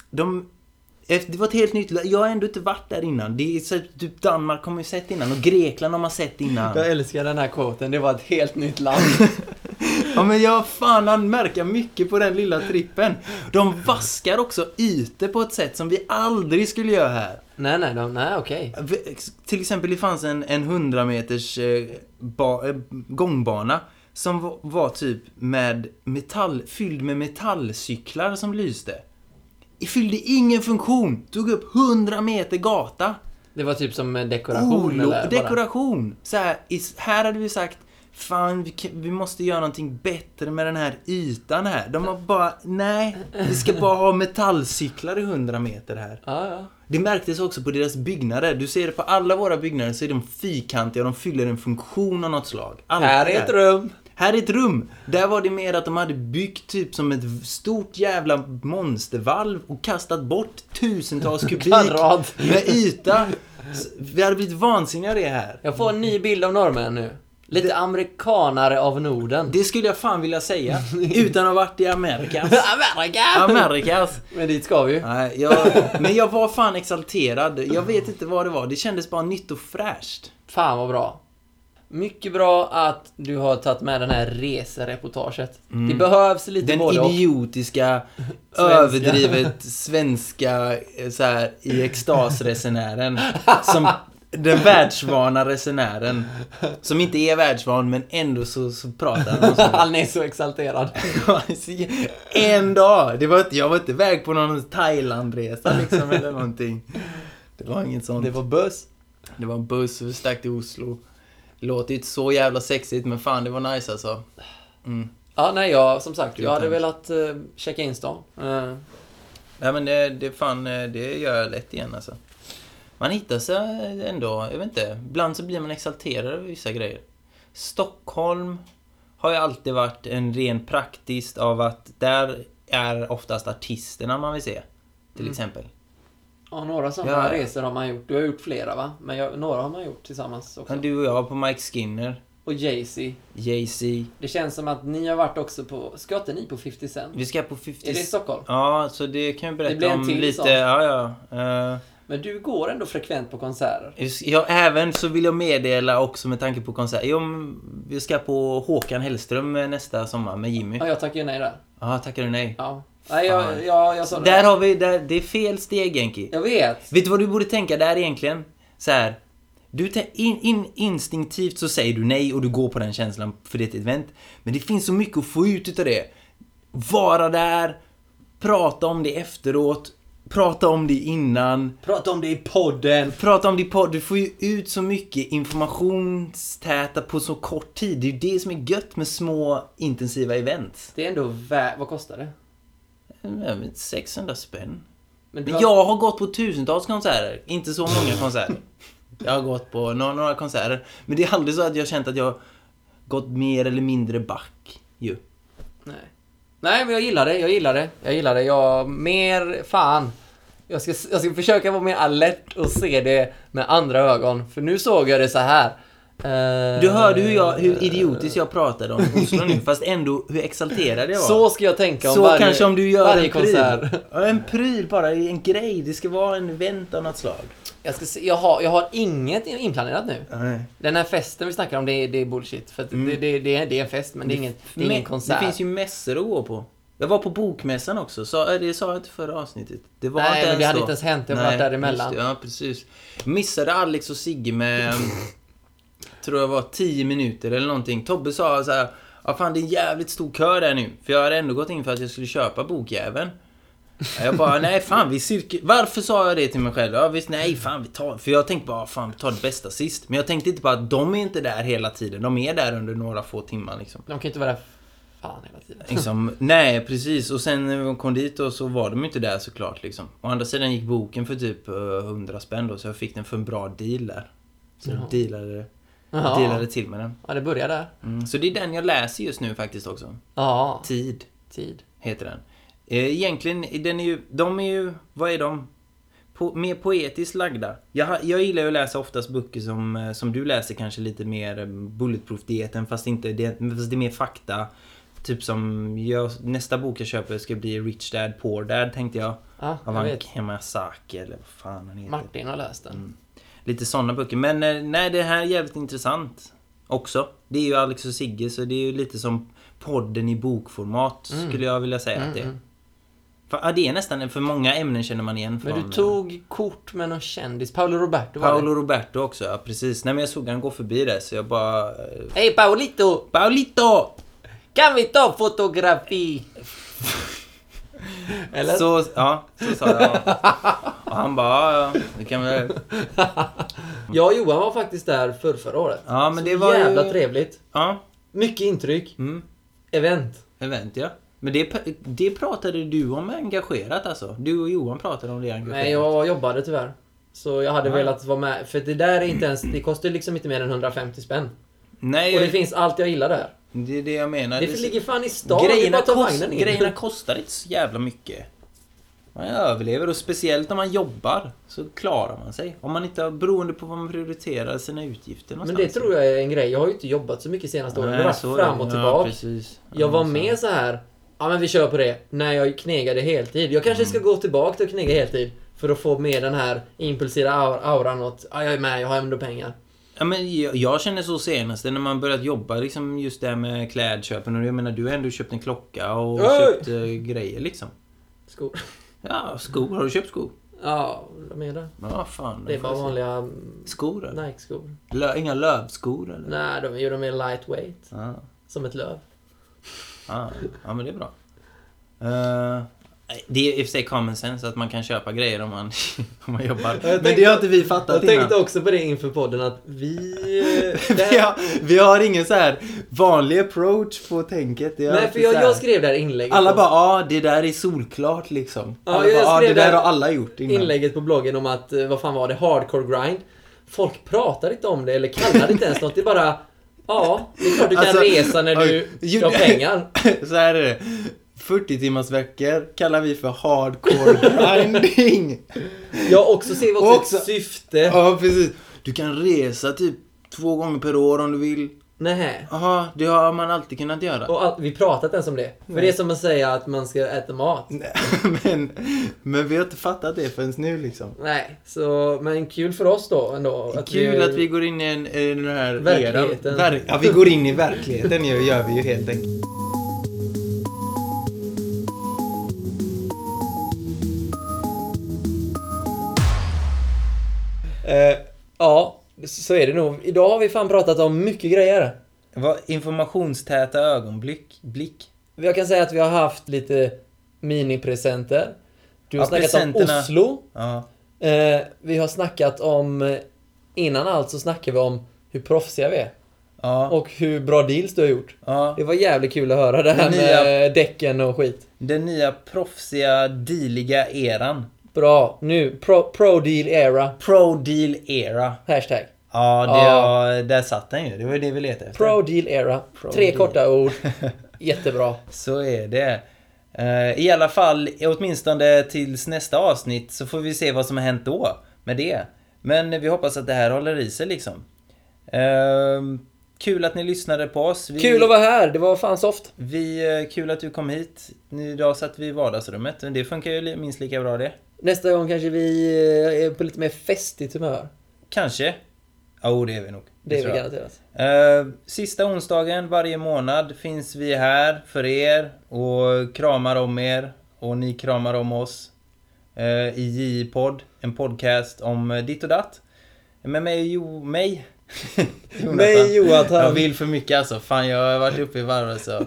de... efter- Det var ett helt nytt la- Jag har ändå inte varit där innan. Det är så att typ Danmark har man ju sett innan och Grekland har man sett innan. Jag älskar den här quoten, det var ett helt <laughs> nytt land. Ja men jag fan anmärka mycket på den lilla trippen. De vaskar också ytor på ett sätt som vi aldrig skulle göra här. nej, nej, de, nej okej. V- Till exempel det fanns en, en 100 meters eh, ba, eh, gångbana som va- var typ med metall, fylld med metallcyklar som lyste. Det Fyllde ingen funktion, tog upp 100 meter gata. Det var typ som en dekoration Olo, eller? bara. dekoration! Så här, i, här hade vi sagt Fan, vi, kan, vi måste göra någonting bättre med den här ytan här. De har bara, nej, vi ska bara ha metallcyklar i 100 meter här. Ja, ja. Det märktes också på deras byggnader. Du ser det på alla våra byggnader så är de fyrkantiga och de fyller en funktion av något slag. Alltid Här är ett där. rum. Här är ett rum. Där var det mer att de hade byggt typ som ett stort jävla monstervalv och kastat bort <laughs> tusentals kubik Kvadrat. med yta. Så Vi hade blivit vansinniga av det här. Jag får en ny bild av norrmän nu. Lite amerikanare av Norden. Det skulle jag fan vilja <laughs> säga utan att ha varit i Amerikas. Amerika! Amerikas. Men dit ska vi ju. Nej, jag, men jag var fan exalterad. Jag vet inte vad det var. Det kändes bara nytt och fräscht. Fan vad bra. Mycket bra att du har tagit med den här resereportaget. Det behövs lite Den både och. <laughs> idiotiska, överdrivet svenska eh, så här, i extasresenären. Som <laughs> den världsvana resenären. Som inte är världsvan men ändå så, så pratar han. och så. <laughs> <laughs> Han är så exalterad. En dag! Det var, inte- jag var inte iväg på någon Thailandresa liksom eller någonting. Det var inget sånt. Det var buss. Det var en buss och vi stack till Oslo. Låter ju inte så jävla sexigt men fan det var nice alltså. Mm. Ja, nej, jag, som sagt, jag Utan- hade velat eh, checka in stan. Eh, Nej men det, det fan, eh, det gör jag lätt igen alltså. Man hittar sig eh, ändå, jag vet inte. Ibland så blir man exalterad över vissa grejer. Stockholm har ju alltid varit en ren praktiskt av att där är oftast artisterna man vill se. Till Mm. exempel. ja, några sådana Ja. resor har man gjort. Du har gjort flera, va? Men jag, några har man gjort tillsammans också. Du och jag på Mike Skinner, Och Jay-Z. Jay-Z. Det känns som att ni har varit också på... Ska inte ni på 50 Cent? Vi ska på 50... Är det i Stockholm? Ja, så det kan jag berätta Det blir en om till lite. sån. Ja, ja. Eh, Men du går ändå frekvent på konserter. Just- Ja, även så vill jag meddela också med tanke på konsert. Jo, men vi ska på Håkan Hellström eh, nästa sommar med Jimmy. Ja, jag tackar ju nej där. Ja, tackar du nej? Ja. Nej, jag, jag, jag sa det. Där har vi, där, det är fel steg Genki. Jag vet. Vet du vad du borde tänka där egentligen? Så här. Du te- in, in, instinktivt så säger du nej och du går på den känslan för ditt event. Men det finns så mycket att få ut utav det. Vara där, prata om det efteråt, prata om det innan. Prata om det i podden. Prata om din podd, du får ju ut så mycket informationstäta på så kort tid. Det är ju det som är gött med små intensiva event. Det är ändå värt... Vad kostar det? Jag vet, 600 spänn. Men du Men jag har gått på tusentals konserter, inte så många konserter. Jag har gått på några, några konserter. Men det är aldrig så att jag har känt att jag har gått mer eller mindre back ju. Nej. Nej, men jag gillar det. Jag gillar det. Jag gillar det. Jag... Mer... Fan. Jag ska, jag ska försöka vara mer alert och se det med andra ögon. För nu såg jag det så här. Eh, Du hörde hur, jag, hur idiotiskt jag pratade om Oslo nu, fast ändå hur exalterad jag var. Så ska jag tänka om Så varje, kanske om du gör varje en pryl. konsert. Ja, en pryl bara, en grej. Det ska vara en event av något slag. Jag, ska se, jag, har, jag har inget inplanerat nu. Nej. Den här festen vi snackar om, det är, det är bullshit. För att det, det, det, är, det är en fest, men det är, inget, det är ingen Mm. Men konsert. Det finns ju mässor att gå på. Jag var på bokmässan också, så, eh, det sa jag inte förra avsnittet. Det var Nej, inte men det hade då. inte ens hänt. Jag har Nej, varit däremellan. just det. Ja, precis. Missade Alex och Sigge <laughs> med, tror jag var 10 minuter eller någonting. Tobbe sa så här, ja fan det är en jävligt stor kö där nu. För jag hade ändå gått in för att jag skulle köpa bokjäveln. Jag bara, nej fan vi cirkel... Varför sa jag det till mig själv? Ja visst, nej fan vi tar... För jag tänkte bara, fan vi tar det bästa sist. Men jag tänkte inte på att de är inte där hela tiden. De är där under några få timmar liksom. De kan ju inte vara där fan hela tiden. Liksom, nej precis, och sen när vi kom dit då så var de inte där såklart liksom. Å andra sidan gick boken för typ eh, 100 spänn då, så jag fick den för en bra deal där. Så jag dealade, Ja. dealade till med den. Ja, det börjar där. Mm. Så det är den jag läser just nu faktiskt också. Ja, Tid tid. heter den. Eh, Egentligen, den är ju, de är ju, vad är de? Po, mer poetiskt lagda. Jag, ha- jag gillar ju att läsa oftast böcker som, eh, som du läser kanske lite mer eh, bulletproof-dieten fast, inte, det, men fast det är mer fakta. Typ som, jag, nästa bok jag köper ska bli Rich Dad Poor Dad tänkte jag. Ja, Av jag vet. Ankemasaki eller vad fan han heter. Martin har läst den. Mm, Lite sådana böcker. Men eh, nej, det här är jävligt intressant också. Det är ju Alex och Sigge, så det är ju lite som podden i bokformat Mm. skulle jag vilja säga att det är. Fa- Ja, det är nästan, för många ämnen känner man igen från Men du tog kort med någon kändis. Paolo Roberto var det. Paolo Roberto också, ja precis. Nej men jag såg han gå förbi där så jag bara... eh, Hej Paolito! Paolito! Kan vi ta <laughs> fotografi? Eller? Så, ja, så sa jag. Och han bara, ja, ja, det kan väl... Jag och Johan var faktiskt där för förra året. Ja, men Så det var ju- jävla trevligt. Ja, Mycket intryck. mm, Event. event ja. Men det, p- det pratade du om engagerat alltså? Du och Johan pratade om det engagerat. Nej, jag jobbade tyvärr. Så jag hade velat vara med. För det där är inte ens... Det kostar liksom inte mer än 150 spänn. Nej, Och det jag- finns allt jag gillar där. Det är det jag menar. Det Det- ligger fan i stan. det är bara grejerna, att ta kost, vagnen in. grejerna kostar inte så jävla mycket. Man överlever och speciellt om man jobbar så klarar man sig. Om man inte har, beroende på vad man prioriterar sina utgifter <laughs> Men någonstans. det tror jag är en grej. Jag har ju inte jobbat så mycket senaste åren. alltså. Nej, Jag så har är varit det. fram och Ja, tillbaka. precis. Ja, Jag var så. med så här. Ja men vi kör på det. När jag knegade heltid. Jag kanske Mm. ska gå tillbaka till att knega heltid. För att få med den här impulsiva aur- auran åt. Ja jag är med, jag har ändå pengar. Ja, men jag, jag känner så senast när man börjat jobba liksom just det här med klädköpen. Och jag menar du har ändå köpt en klocka och Oj! köpt eh, grejer liksom. Skor. <laughs> Ja, skor. Har du köpt skor? Ja, de är det. Ja, fan. Det är bara vanliga mm, Skor? eller? Nike-skor. Lö, inga lövskor eller? Nej, de, jo, de är lightweight. Ja. Som ett löv. Ja, Ah, ja men det är bra. Eh, det är i och för sig common sense att man kan köpa grejer om man, <laughs> om man jobbar. men det har inte vi fattat Jag tänkte innan. också på det inför podden att <laughs> vi... eh, det Vi här- har, vi har ingen så här vanlig approach på tänket. Det är Nej, alltid för jag, så här- jag skrev det här inlägget. Alla på- bara ja, det där är solklart liksom. Ja, alla jag bara, "Ah, skrev det där det- har alla gjort innan. inlägget på bloggen om att, eh, vad fan var det, hardcore grind. Folk pratar inte om det eller kallar det inte ens något. Det är bara, ja, det är klart du kan Alltså, resa när du, oj, du ju- har pengar. <laughs> så här är det. 40 timmars veckor kallar vi för hardcore <laughs> grinding. Jag också ser också, Också. ett syfte. Ja, precis. Du kan resa typ två gånger per år om du vill. Nej. Jaha, det har man alltid kunnat göra. Och all, vi pratat ens om det. För det är som att säga att man ska äta mat. Nej, <laughs> men, men vi har inte fattat det förrän nu liksom. Nej, så, men kul för oss då ändå. Kul att vi går in i, en, i den här eran. Verkligheten. Verk- ja, vi går in i verkligheten ju, gör vi ju helt enkelt. Eh, ja, så är det nog. Idag har vi fan pratat om mycket grejer. Vad informationstäta ögonblick. Blick. Jag kan säga att vi har haft lite minipresenter. Du har Ja, snackat om presenterna. Oslo. Ja. Eh, vi har snackat om... eh, Innan allt så snackade vi om hur proffsiga vi är. Ja. Och hur bra deals du har gjort. ja. Det var jävligt kul att höra det här Den med däcken och skit. Den nya proffsiga, dealiga eran. Bra. Nu, pro, pro deal era. Pro deal era. Hashtag. Ja, det Ja. ja. där satt den ju. Det var ju det vi letade efter. Pro deal era. Pro Tre deal. korta <laughs> ord. Jättebra. Så är det. Eh, I alla fall, åtminstone tills nästa avsnitt så får vi se vad som har hänt då med det. Men vi hoppas att det här håller i sig liksom. Eh, Kul att ni lyssnade på oss. Vi, Kul att vara här. Det var fan soft. vi, eh, kul att du kom hit. Nu- Idag satt vi i vardagsrummet. men Det funkar ju li- minst lika bra det. Nästa gång kanske vi eh, är på lite mer festigt humör. Kanske. Ja, oh, det är vi nog. Det är vi tror jag. garanterat. Eh, sista onsdagen varje månad finns vi här för er och kramar om er och ni kramar om oss eh, i JI-podd, en podcast om eh, ditt och datt. Med mig, jo, mig. <laughs> Jonathan. Nej Jag Jonathan. vill för mycket alltså. Fan, jag har varit uppe i varv <laughs> alltså.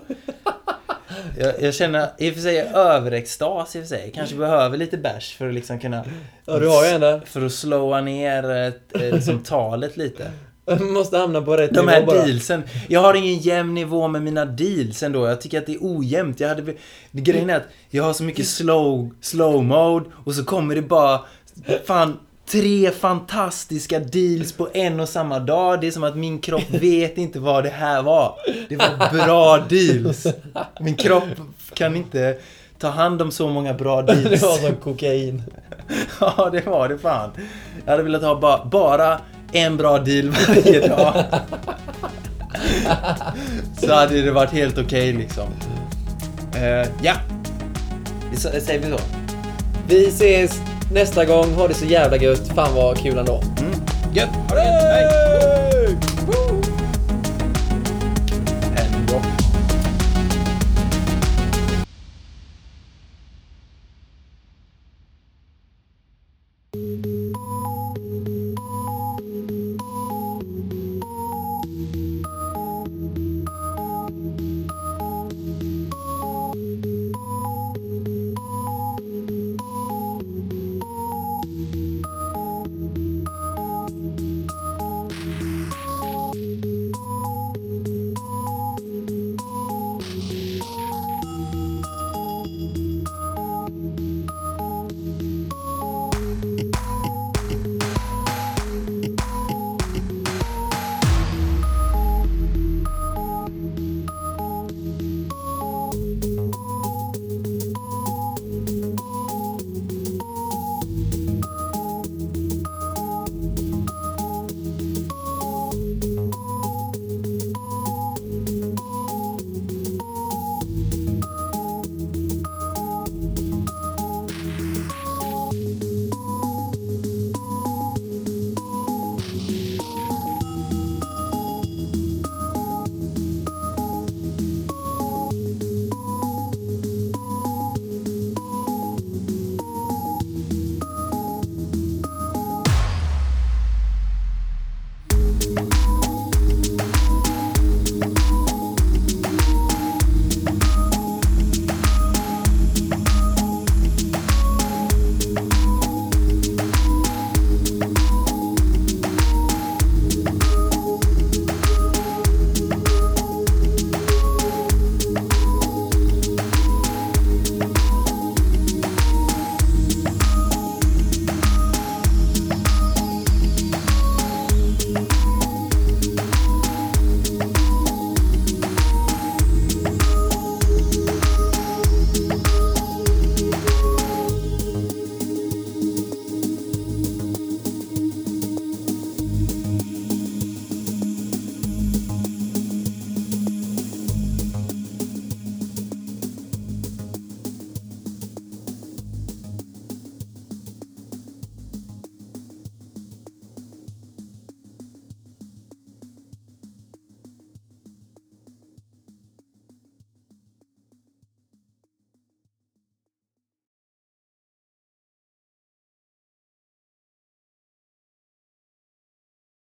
Jag, jag känner i och för sig överextas i och för sig. Kanske behöver lite bärs för att liksom kunna... Ja, du har ju en där. För att slåa ner eh, liksom talet lite. <laughs> Måste hamna på rätt De nivå här bara. dealsen. Jag har ingen jämn nivå med mina deals ändå. Jag tycker att det är ojämnt. Jag hade... bli- Grejen är att jag har så mycket slow, slow mode och så kommer det bara fan tre fantastiska deals på en och samma dag. Det är som att min <laughs> kropp vet inte vad det här var. Det var bra deals. Min kropp kan inte ta hand om så många bra <laughs> <laughs> Det deals. var som kokain. <laughs> Ja, det var det fan. Jag hade velat ha ba bara en bra deal varje dag. Så hade det varit helt okej liksom. Eh, ja. Vi sa- Säger vi så? Vi ses nästa gång. Ha det så jävla gött. Fan vad kul ändå. Mm. Gött! Ha det! Hej!